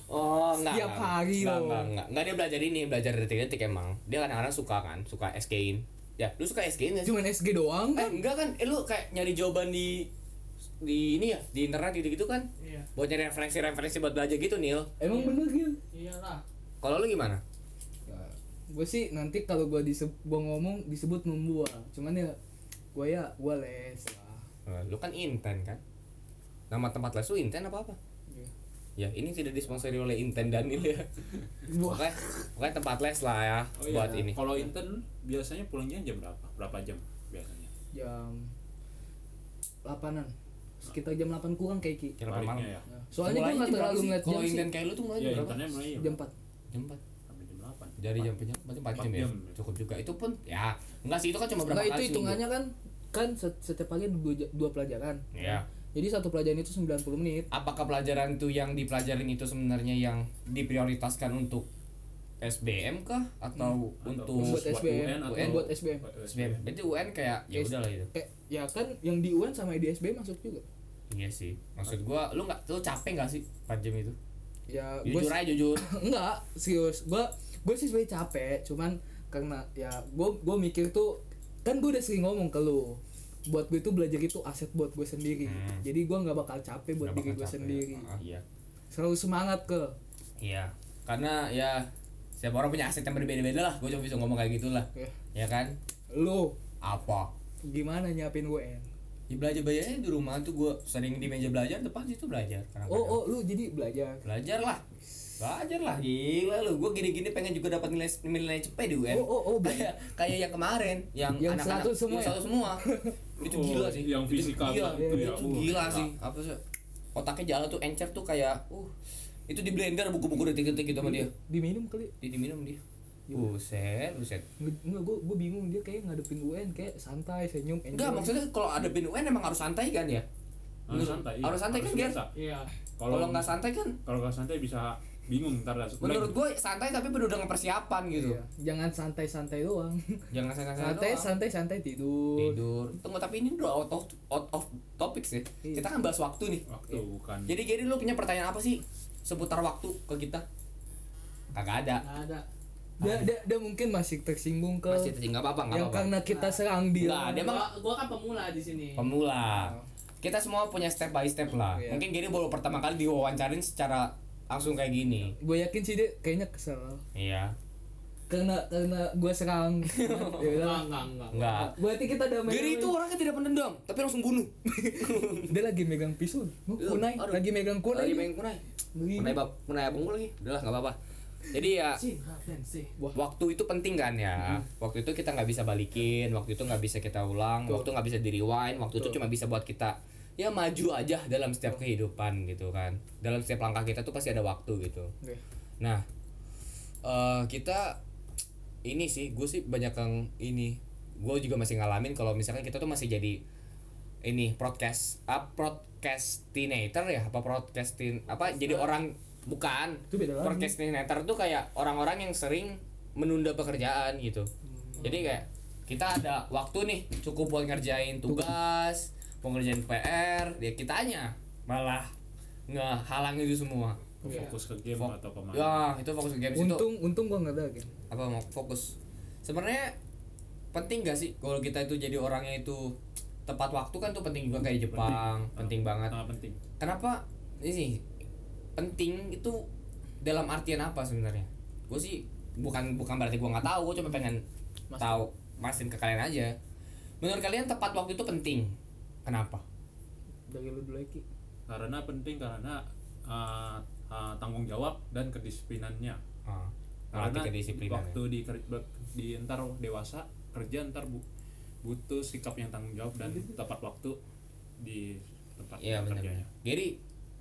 [SPEAKER 3] oh enggak
[SPEAKER 2] Setiap
[SPEAKER 3] enggak,
[SPEAKER 2] hari
[SPEAKER 3] enggak,
[SPEAKER 2] loh.
[SPEAKER 3] enggak, enggak. Enggak, dia belajar ini belajar detik-detik emang dia kadang-kadang suka kan suka SK in ya lu suka SK in
[SPEAKER 2] cuman SG doang
[SPEAKER 3] eh
[SPEAKER 2] kan
[SPEAKER 3] enggak kan eh, lu kayak nyari jawaban di di ini ya di internet gitu gitu kan
[SPEAKER 4] Iya.
[SPEAKER 3] buat nyari referensi-referensi buat belajar gitu Nil
[SPEAKER 2] emang bener gitu
[SPEAKER 4] Iyalah.
[SPEAKER 3] kalau lu gimana Iya.
[SPEAKER 2] gue sih nanti kalau gue disebut ngomong disebut membual cuman ya gue ya gue les lah
[SPEAKER 3] Eh, lu kan inten kan nama tempat les lu inten apa apa
[SPEAKER 2] Ya.
[SPEAKER 3] ya ini tidak disponsori oleh Inten dan ini ya pokoknya, pokoknya tempat les lah ya
[SPEAKER 5] Oh iya.
[SPEAKER 3] buat ini
[SPEAKER 5] Kalau intern biasanya pulangnya jam berapa? Berapa jam biasanya?
[SPEAKER 2] jam 8-an sekitar jam 8 kurang kayak Ki
[SPEAKER 3] Kira malam
[SPEAKER 5] Baliknya ya.
[SPEAKER 2] soalnya gue gak terlalu ngeliat
[SPEAKER 3] kalau
[SPEAKER 2] jam sih
[SPEAKER 3] Inten kayak lu tuh mulai
[SPEAKER 5] Iya,
[SPEAKER 3] jam berapa
[SPEAKER 5] internnya mulai jam
[SPEAKER 2] jam 4
[SPEAKER 3] jam empat
[SPEAKER 5] Sampai jam 8.
[SPEAKER 3] dari jam berapa berarti empat
[SPEAKER 5] Empat
[SPEAKER 3] jam ya
[SPEAKER 5] jam.
[SPEAKER 3] cukup juga itu pun ya enggak sih itu kan cuma berapa
[SPEAKER 2] Nah,
[SPEAKER 3] kali
[SPEAKER 2] itu
[SPEAKER 3] seminggu.
[SPEAKER 2] hitungannya kan kan set- setiap pagi ada dua, ja- dua pelajaran
[SPEAKER 3] ya
[SPEAKER 2] jadi satu pelajaran itu 90 menit
[SPEAKER 3] apakah pelajaran itu yang dipelajarin itu sebenarnya yang diprioritaskan untuk SBM kah atau
[SPEAKER 2] Hmm.
[SPEAKER 3] untuk
[SPEAKER 2] Membuat SBM,
[SPEAKER 3] UN.
[SPEAKER 2] buat SBM
[SPEAKER 3] SBM berarti UN kayak ya
[SPEAKER 2] Yes.
[SPEAKER 3] udah lah itu
[SPEAKER 2] kayak ya kan yang di UN sama di SB masuk juga
[SPEAKER 3] iya sih maksud gua lu nggak lu capek nggak sih empat jam itu
[SPEAKER 2] ya gue
[SPEAKER 3] jujur aja jujur
[SPEAKER 2] enggak serius gue gue sih sebenarnya capek cuman karena ya gue gue mikir tuh kan gue udah sering ngomong ke lu buat gue tuh belajar itu aset buat gue sendiri
[SPEAKER 3] Hmm.
[SPEAKER 2] jadi gue nggak bakal capek buat
[SPEAKER 3] Nggak
[SPEAKER 2] diri
[SPEAKER 3] bakal
[SPEAKER 2] gue
[SPEAKER 3] capek.
[SPEAKER 2] sendiri
[SPEAKER 3] Ah, iya
[SPEAKER 2] selalu semangat ke
[SPEAKER 3] iya karena ya setiap orang punya aset yang berbeda-beda lah gua cuma bisa ngomong kayak gitulah
[SPEAKER 2] Ya.
[SPEAKER 3] ya kan
[SPEAKER 2] lu
[SPEAKER 3] apa
[SPEAKER 2] gimana nyiapin UN
[SPEAKER 3] ya belajar belajarnya di rumah tuh gua sering di meja belajar depan situ belajar kadang-kadang.
[SPEAKER 2] oh oh lu jadi belajar
[SPEAKER 3] belajar lah belajar lah gila lu gue gini-gini pengen juga dapat nilai nilai cepet di UN
[SPEAKER 2] Oh, oh, oh, bener.
[SPEAKER 3] kayak kayak yang kemarin yang
[SPEAKER 2] Yang
[SPEAKER 3] anak-anak
[SPEAKER 2] 100 semua
[SPEAKER 3] yang
[SPEAKER 2] ya?
[SPEAKER 3] 100 semua itu
[SPEAKER 5] Oh,
[SPEAKER 3] gila sih
[SPEAKER 5] yang
[SPEAKER 3] Itu
[SPEAKER 5] fisika
[SPEAKER 3] gila
[SPEAKER 5] kan, itu ya,
[SPEAKER 3] itu
[SPEAKER 5] uh,
[SPEAKER 3] gila
[SPEAKER 5] gila.
[SPEAKER 3] sih apa sih otaknya jalan tuh encer tuh kayak uh itu di blender buku-buku detik-detik gitu sama dia
[SPEAKER 2] diminum kali
[SPEAKER 3] dia diminum dia
[SPEAKER 2] Iya.
[SPEAKER 3] buset buset
[SPEAKER 2] Enggak, gue gue bingung dia kayak ngadepin UN kayak santai senyum enjoy.
[SPEAKER 3] enggak maksudnya kalau ada pin UN emang harus santai kan ya
[SPEAKER 5] Harus santai. iya.
[SPEAKER 3] harus santai kan Ger?
[SPEAKER 5] biasa.
[SPEAKER 4] Iya.
[SPEAKER 5] Kalau
[SPEAKER 3] kalau nggak santai kan
[SPEAKER 5] kalau nggak santai bisa bingung ntar dah.
[SPEAKER 3] menurut gue santai tapi perlu dengan persiapan gitu
[SPEAKER 2] Iya. Jangan santai-santai doang.
[SPEAKER 3] jangan santai-santai
[SPEAKER 2] santai
[SPEAKER 3] doang.
[SPEAKER 2] santai santai tidur.
[SPEAKER 3] tidur tunggu tapi ini udah out of out of topic sih
[SPEAKER 2] Iya.
[SPEAKER 3] kita kan bahas waktu nih
[SPEAKER 5] waktu bukan.
[SPEAKER 3] Iya. jadi jadi lu punya pertanyaan apa sih seputar waktu ke kita kagak ada
[SPEAKER 4] Nggak ada.
[SPEAKER 2] Dia, dia, dia mungkin masih tersinggung ke
[SPEAKER 3] masih tertinggal apa apa nggak
[SPEAKER 2] yang
[SPEAKER 3] apa,
[SPEAKER 2] karena kita serang dia.
[SPEAKER 3] Nggak, dia mah-
[SPEAKER 4] Gua, gua kan pemula di sini.
[SPEAKER 3] pemula kita semua punya step by step lah
[SPEAKER 2] Oh. Iya.
[SPEAKER 3] mungkin Gary baru pertama kali diwawancarin secara langsung kayak gini
[SPEAKER 2] Gue yakin sih dia kayaknya kesel.
[SPEAKER 3] iya
[SPEAKER 2] Karena karena gue serang. ya udah.
[SPEAKER 4] Enggak, enggak, enggak.
[SPEAKER 3] enggak
[SPEAKER 2] Berarti kita damai.
[SPEAKER 3] Gary itu orangnya tidak pendendam tapi langsung bunuh
[SPEAKER 2] dia lagi megang pisau. Mau kunai,
[SPEAKER 3] Aduh.
[SPEAKER 2] lagi megang kunai.
[SPEAKER 3] lagi main kunai
[SPEAKER 2] Ngeri.
[SPEAKER 3] kunai bab kunai abang gua lagi udahlah nggak apa apa jadi ya
[SPEAKER 4] Cing, Raven sih.
[SPEAKER 3] waktu itu penting kan ya waktu itu kita nggak bisa balikin waktu itu nggak bisa kita ulang waktu nggak bisa di rewind waktu itu cuma bisa buat kita ya maju aja dalam setiap kehidupan gitu kan dalam setiap langkah kita tuh pasti ada waktu gitu
[SPEAKER 2] Oke.
[SPEAKER 3] nah eh kita ini sih gue sih banyak yang ini gue juga masih ngalamin kalau misalkan kita tuh masih jadi ini broadcast ah, broadcastinator ya apa broadcastin apa jadi orang bukan
[SPEAKER 2] Itu beda lagi.
[SPEAKER 3] procrastinator tuh kayak orang-orang yang sering menunda pekerjaan gitu.
[SPEAKER 2] Hmm.
[SPEAKER 3] Jadi kayak kita ada waktu nih cukup buat ngerjain tugas, mau ngerjain PR, ya kitanya malah ngehalang itu semua.
[SPEAKER 5] fokus ke game
[SPEAKER 3] Fok-
[SPEAKER 5] atau kemana?
[SPEAKER 3] Ya, itu fokus ke games itu
[SPEAKER 2] Untung untung gue nggak ada kan.
[SPEAKER 3] apa mau fokus. Sebenarnya penting gak sih kalau kita itu jadi orangnya itu tepat waktu kan tuh penting juga kayak Jepang, penting banget
[SPEAKER 5] Sangat penting.
[SPEAKER 3] kenapa ini sih, penting itu dalam artian apa sebenarnya gue sih bukan bukan berarti gue nggak tahu gue cuma pengen tahu masin ke kalian aja menurut kalian tepat waktu itu penting kenapa
[SPEAKER 2] Dari lu dulu Ki.
[SPEAKER 5] Karena penting karena uh, uh, tanggung jawab dan kedisiplinannya.
[SPEAKER 3] Ah,
[SPEAKER 5] Karena
[SPEAKER 3] ngelatih kedisiplinan ya.
[SPEAKER 5] waktu di, ker- di ntar dewasa kerja ntar bu- butuh sikap yang tanggung jawab dan tepat waktu di tempat
[SPEAKER 3] ya iya benar
[SPEAKER 5] kerjanya.
[SPEAKER 3] jadi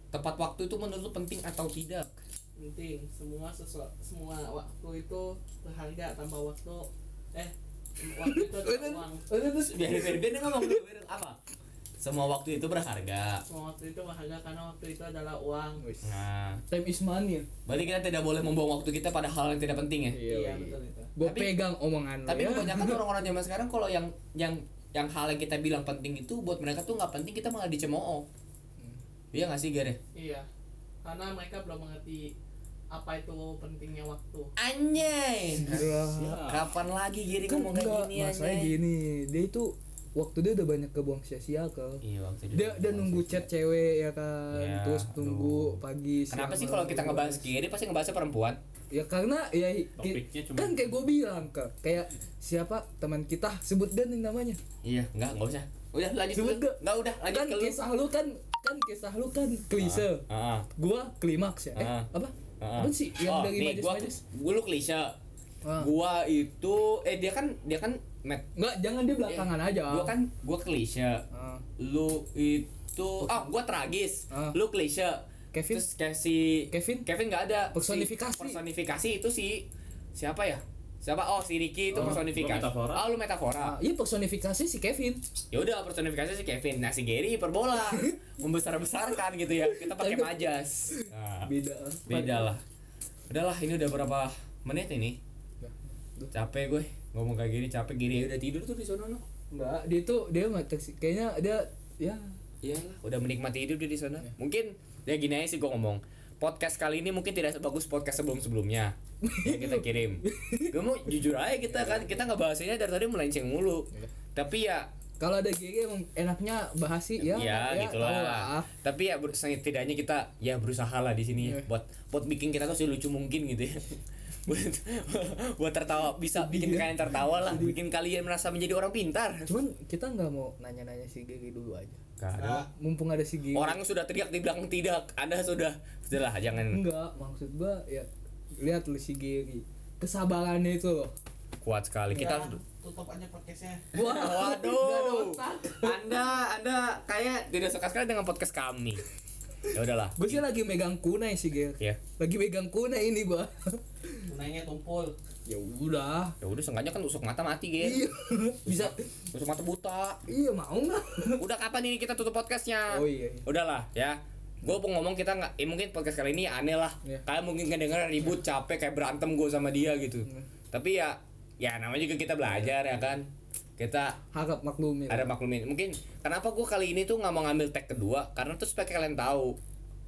[SPEAKER 3] tepat waktu itu menurut lu penting atau tidak
[SPEAKER 4] Penting. Semua sesuatu, semua waktu itu berharga tanpa waktu. Eh, waktu itu ada uang.
[SPEAKER 3] terus biar biar biar dia ngomong dulu biar apa semua waktu itu berharga
[SPEAKER 4] Semua waktu itu berharga karena waktu itu adalah uang.
[SPEAKER 3] nah
[SPEAKER 2] Time is money. ya.
[SPEAKER 3] berarti kita tidak boleh membuang waktu kita pada hal yang tidak penting ya
[SPEAKER 4] Iya, betul itu.
[SPEAKER 2] Gue
[SPEAKER 3] Tapi-
[SPEAKER 2] pegang omongan lu
[SPEAKER 3] tapi
[SPEAKER 2] ya.
[SPEAKER 3] kebanyakan orang-orang zaman sekarang kalau yang yang yang hal yang kita bilang penting itu buat mereka tuh nggak penting kita malah dicemooh iya nggak sih Gare?
[SPEAKER 4] Iya. Karena mereka belum mengerti apa itu pentingnya waktu.
[SPEAKER 3] anjay
[SPEAKER 2] Aduh.
[SPEAKER 3] kapan lagi Giri
[SPEAKER 2] kan
[SPEAKER 3] ngomong kayak
[SPEAKER 2] enggak,
[SPEAKER 3] gini
[SPEAKER 2] masalahnya
[SPEAKER 3] anjay
[SPEAKER 2] gini dia itu waktu dia udah banyak kebuang sia-sia kan
[SPEAKER 3] iya waktu itu
[SPEAKER 2] dia dia nunggu chat cewek ya kan
[SPEAKER 3] Ya,
[SPEAKER 2] terus
[SPEAKER 3] aduh.
[SPEAKER 2] tunggu pagi siang,
[SPEAKER 3] kenapa sih
[SPEAKER 2] malam,
[SPEAKER 3] kalau kita
[SPEAKER 2] gitu.
[SPEAKER 3] ngebahas Giri pasti ngebahasnya perempuan
[SPEAKER 2] ya karena ya
[SPEAKER 5] Topiknya
[SPEAKER 2] kayak-
[SPEAKER 5] cuma-
[SPEAKER 2] kan kayak gue bilang kan kayak siapa teman kita sebut dan namanya
[SPEAKER 3] iya nggak nggak usah udah lanjut
[SPEAKER 2] Sebut
[SPEAKER 3] dulu.
[SPEAKER 2] nggak?
[SPEAKER 3] nggak udah lanjut
[SPEAKER 2] kan
[SPEAKER 3] ke lu
[SPEAKER 2] kisah lu kan kan kisah lu kan klise
[SPEAKER 3] Ah,
[SPEAKER 2] gua klimaks ya eh
[SPEAKER 3] Ah.
[SPEAKER 2] apa
[SPEAKER 3] ah.
[SPEAKER 2] apa sih yang
[SPEAKER 3] Oh,
[SPEAKER 2] dari
[SPEAKER 3] nih, gua,
[SPEAKER 2] majas-majas
[SPEAKER 3] gua lu klise.
[SPEAKER 2] Ah.
[SPEAKER 3] Gua itu eh dia kan dia kan Matt.
[SPEAKER 2] Enggak, jangan di belakangan aja.
[SPEAKER 3] Iya. Gua kan gua klise.
[SPEAKER 2] Ah.
[SPEAKER 3] Lu itu ah gua tragis.
[SPEAKER 2] Ah.
[SPEAKER 3] Lu klise.
[SPEAKER 2] Kevin?
[SPEAKER 3] Terus kayak si
[SPEAKER 2] Kevin?
[SPEAKER 3] Kevin nggak ada.
[SPEAKER 2] Personifikasi.
[SPEAKER 3] Si- personifikasi itu si siapa ya? Siapa? Oh, si Ricky itu
[SPEAKER 5] Oh,
[SPEAKER 3] personifikasi.
[SPEAKER 5] gua metafora.
[SPEAKER 3] Oh, lu metafora.
[SPEAKER 2] Ah, iya personifikasi si Kevin.
[SPEAKER 3] ya udah personifikasi si Kevin nah si Gary hiperbola membesar besarkan gitu ya kita pakai majas nah,
[SPEAKER 2] Beda. ah.
[SPEAKER 3] beda lah udahlah ini udah berapa menit ini capek gue ngomong kayak gini capek Giri Ya udah tidur tuh di sono no
[SPEAKER 2] Enggak, dia tuh dia mati sih. Kayaknya dia ya
[SPEAKER 3] iyalah udah menikmati hidup dia di sana mungkin ya gini aja sih gue ngomong podcast kali ini mungkin tidak sebagus podcast sebelum sebelumnya yang kita kirim gue mau jujur aja kita kan kita nggak bahasanya dari tadi melenceng mulu tapi ya
[SPEAKER 2] kalau ada GG emang enaknya bahas sih ya.
[SPEAKER 3] ya, gitu
[SPEAKER 2] tau
[SPEAKER 3] lah. Tapi ya ber- setidaknya kita ya berusaha lah di sini
[SPEAKER 2] Iya.
[SPEAKER 3] buat buat bikin kita tuh selucu mungkin gitu ya. buat buat tertawa bisa
[SPEAKER 2] Iya.
[SPEAKER 3] bikin kalian tertawa lah bikin kalian merasa menjadi orang pintar
[SPEAKER 2] Cuman kita nggak mau nanya-nanya si GG dulu aja.
[SPEAKER 3] Nggak ada.
[SPEAKER 4] Nah,
[SPEAKER 2] Mumpung ada si GG.
[SPEAKER 3] Iya. orang sudah teriak di belakang tidak anda sudah sudahlah jangan
[SPEAKER 2] Enggak, maksud gua ya lihat lu si GG. Kesabarannya itu loh.
[SPEAKER 3] kuat sekali kita
[SPEAKER 4] udah,
[SPEAKER 3] harus
[SPEAKER 4] ya, tutup aja podcastnya.
[SPEAKER 2] Wah, nggak ada
[SPEAKER 3] waduh
[SPEAKER 2] otak.
[SPEAKER 3] anda anda kayak tidak suka sekali dengan podcast kami ya udahlah
[SPEAKER 2] Gue sih lagi megang kunai sih Gil.
[SPEAKER 3] ya
[SPEAKER 2] Lagi megang kunai ini gua.
[SPEAKER 4] Tunainya tumpul.
[SPEAKER 2] ya udah.
[SPEAKER 3] ya udah sengaja kan tusuk mata mati gitu
[SPEAKER 2] Iya. Bisa
[SPEAKER 3] tusuk mata buta
[SPEAKER 2] iya mau nggak?
[SPEAKER 3] udah kapan ini kita tutup podcastnya
[SPEAKER 2] Oh iya. iya.
[SPEAKER 3] udahlah ya gue mau ngomong kita nggak eh, mungkin podcast kali ini aneh lah
[SPEAKER 2] Iya.
[SPEAKER 3] kalian mungkin kedengeran ribut capek kayak berantem gue sama dia gitu
[SPEAKER 2] Iya.
[SPEAKER 3] tapi ya ya namanya juga kita belajar ya kan kita
[SPEAKER 2] Harap maklumin.
[SPEAKER 3] ada maklumin mungkin kenapa gue kali ini tuh nggak mau ngambil tag kedua karena tuh supaya kalian tahu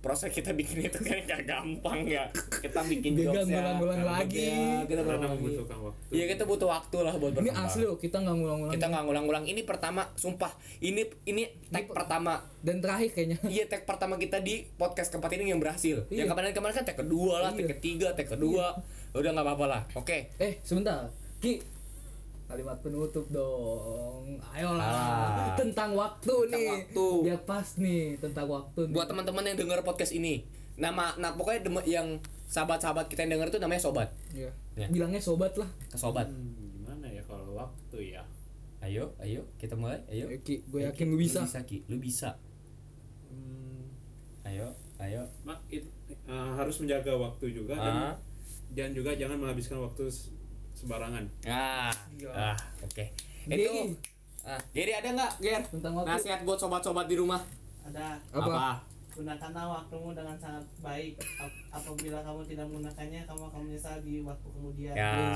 [SPEAKER 3] proses kita bikin itu kayak nggak gampang ya kita bikin
[SPEAKER 2] Dia
[SPEAKER 3] jokes ya
[SPEAKER 2] gambaran-gambaran
[SPEAKER 3] Nah,
[SPEAKER 2] lagi.
[SPEAKER 3] ya, kita
[SPEAKER 5] karena
[SPEAKER 3] ngulang lagi
[SPEAKER 5] membutuhkan waktu
[SPEAKER 3] Iya kita butuh waktu lah buat
[SPEAKER 2] Ini
[SPEAKER 3] berkembang.
[SPEAKER 2] asli loh, kita nggak ngulang-ngulang.
[SPEAKER 3] kita nggak ngulang-ngulang ini pertama sumpah ini ini tag pertama
[SPEAKER 2] Dan terakhir kayaknya.
[SPEAKER 3] Iya tag pertama kita di podcast keempat ini yang berhasil.
[SPEAKER 2] Iya.
[SPEAKER 3] Yang kemarin-kemarin kan tag kedua lah, tag
[SPEAKER 2] Iya.
[SPEAKER 3] ketiga, tag kedua. Udah nggak apa-apa lah. Oke.
[SPEAKER 2] Eh, sebentar. Ki kalimat penutup dong.
[SPEAKER 3] Alah.
[SPEAKER 2] Ayolah. Tentang waktu
[SPEAKER 3] Tentang
[SPEAKER 2] nih.
[SPEAKER 3] waktu.
[SPEAKER 2] Biar pas nih tentang waktu nih.
[SPEAKER 3] Buat teman-teman yang dengar podcast ini, nama nah pokoknya dem- yang sahabat-sahabat kita yang denger itu namanya sobat.
[SPEAKER 2] Iya.
[SPEAKER 3] Ya.
[SPEAKER 2] Bilangnya sobat lah.
[SPEAKER 3] Sobat.
[SPEAKER 5] Hmm, gimana ya kalau waktu ya
[SPEAKER 3] Ayo, ayo kita mulai. Ayo.
[SPEAKER 2] Eh, Ki, gue
[SPEAKER 3] Ayo, Ya,
[SPEAKER 2] yakin
[SPEAKER 3] Ki.
[SPEAKER 2] lu bisa.
[SPEAKER 3] Lu bisa, Ki. Lu bisa.
[SPEAKER 5] Hmm,
[SPEAKER 3] Ayo, ayo.
[SPEAKER 5] mak it- eh, harus menjaga waktu juga dan,
[SPEAKER 3] Ah.
[SPEAKER 5] dan juga jangan menghabiskan waktu s- sembarangan
[SPEAKER 3] Ah.
[SPEAKER 2] Iya.
[SPEAKER 3] Ah, oke.
[SPEAKER 2] Geri.
[SPEAKER 3] Itu Ah, Geri ada nggak, Ger?
[SPEAKER 2] Tentang waktu.
[SPEAKER 3] Nasihat buat sobat-sobat di rumah.
[SPEAKER 4] Ada
[SPEAKER 2] Apa?
[SPEAKER 4] gunakanlah waktumu dengan sangat baik. Ap- apabila kamu tidak menggunakannya, kamu akan menyesal di waktu kemudian.
[SPEAKER 3] Ya,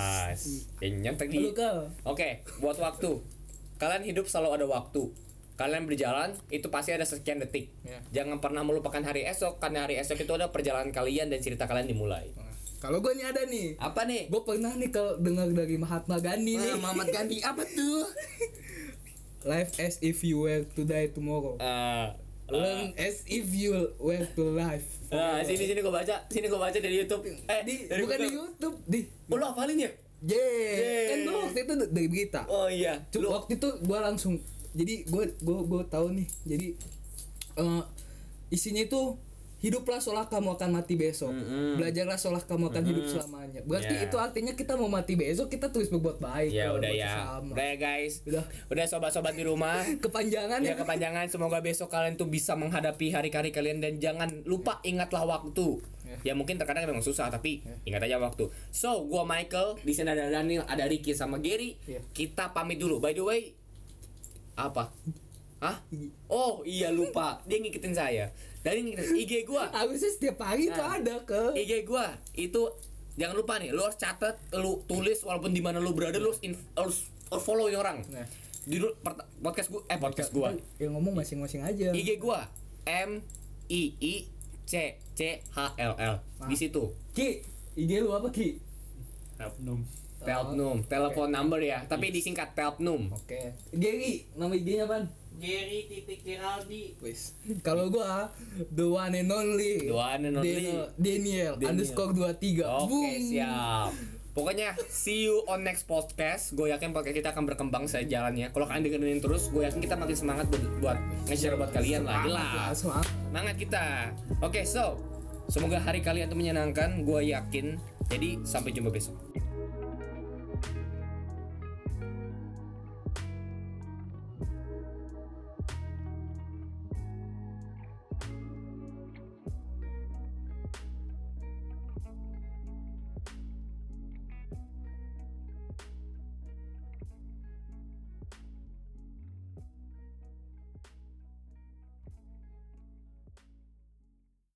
[SPEAKER 3] nyentek di
[SPEAKER 2] Lu kal.
[SPEAKER 3] Oke, buat waktu. Kalian hidup selalu ada waktu. Kalian berjalan itu pasti ada sekian detik.
[SPEAKER 2] Ya.
[SPEAKER 3] Jangan pernah melupakan hari esok karena hari esok itu ada perjalanan kalian dan cerita kalian dimulai.
[SPEAKER 2] Hmm. Kalau gue nih ada nih.
[SPEAKER 3] Apa nih?
[SPEAKER 2] Gue pernah nih kalau dengar dari Mahatma Gandhi nih.
[SPEAKER 3] Ah, Muhammad Gandhi apa tuh?
[SPEAKER 2] Life as if you were to die tomorrow.
[SPEAKER 3] Eh,
[SPEAKER 2] Learn as if you were to live.
[SPEAKER 3] eh, sini sini gua baca, sini gua baca dari YouTube. Eh,
[SPEAKER 2] Di,
[SPEAKER 3] dari
[SPEAKER 2] bukan di
[SPEAKER 3] Google.
[SPEAKER 2] YouTube, di.
[SPEAKER 3] Oh, lu hafalin ya?
[SPEAKER 2] Yeay.
[SPEAKER 3] Yeay.
[SPEAKER 2] Kan gue waktu itu dari berita.
[SPEAKER 3] Oh iya.
[SPEAKER 2] Cuk,
[SPEAKER 3] Lu
[SPEAKER 2] waktu itu gue langsung jadi gue gue gue tahu nih jadi eh, isinya itu hiduplah seolah kamu akan mati besok
[SPEAKER 3] Mm-mm.
[SPEAKER 2] belajarlah seolah kamu akan hidup selamanya berarti
[SPEAKER 3] Yeah.
[SPEAKER 2] itu artinya kita mau mati besok kita terus berbuat baik
[SPEAKER 3] ya
[SPEAKER 2] kalau
[SPEAKER 3] udah
[SPEAKER 2] buat
[SPEAKER 3] ya.
[SPEAKER 2] sesama.
[SPEAKER 3] Udah ya guys.
[SPEAKER 2] Udah.
[SPEAKER 3] Udah sobat-sobat di rumah.
[SPEAKER 2] kepanjangan
[SPEAKER 3] Ya
[SPEAKER 2] ya
[SPEAKER 3] kepanjangan semoga besok kalian tuh bisa menghadapi hari-hari kalian dan jangan lupa ingatlah waktu. Ya mungkin terkadang memang susah tapi ingat aja waktu. So, gua Michael, di sini ada Daniel, ada Ricky sama Gary.
[SPEAKER 2] Iya.
[SPEAKER 3] Kita pamit dulu. By the way, apa? Hah? Oh, iya lupa. Dia ngikutin saya. Dari ngikutin IG gua.
[SPEAKER 2] harusnya setiap hari itu
[SPEAKER 3] Nah.
[SPEAKER 2] ada ke
[SPEAKER 3] IG gua itu jangan lupa nih, lu harus catat, lu tulis walaupun di mana lu berada, lu harus, in- harus- harus follow ini orang.
[SPEAKER 2] Nah.
[SPEAKER 3] Judul per- podcast gua eh podcast gua.
[SPEAKER 2] yang ngomong masing-masing aja
[SPEAKER 3] IG gua M I I C C H L L di situ.
[SPEAKER 2] ki IG lu apa ki
[SPEAKER 5] Rapnum
[SPEAKER 3] Telpnum, telepon number ya, tapi disingkat Telpnum.
[SPEAKER 2] oke Gary nama IG-nya pan
[SPEAKER 4] Gary titik Geraldi.
[SPEAKER 2] Wis. Kalau gua the one and only.
[SPEAKER 3] The one and only.
[SPEAKER 2] Daniel, Daniel, underscore 23.
[SPEAKER 3] Oke,
[SPEAKER 2] Boom.
[SPEAKER 3] siap. Pokoknya see you on next podcast. Gue yakin podcast kita akan berkembang sejalannya. Kalau kalian dengerin terus, gue yakin kita makin semangat buat, buat nge-share buat kalian lah. Jelas.
[SPEAKER 2] Semangat.
[SPEAKER 3] Semangat kita. Oke, so semoga hari kalian tuh menyenangkan. Gue yakin. Jadi sampai jumpa besok.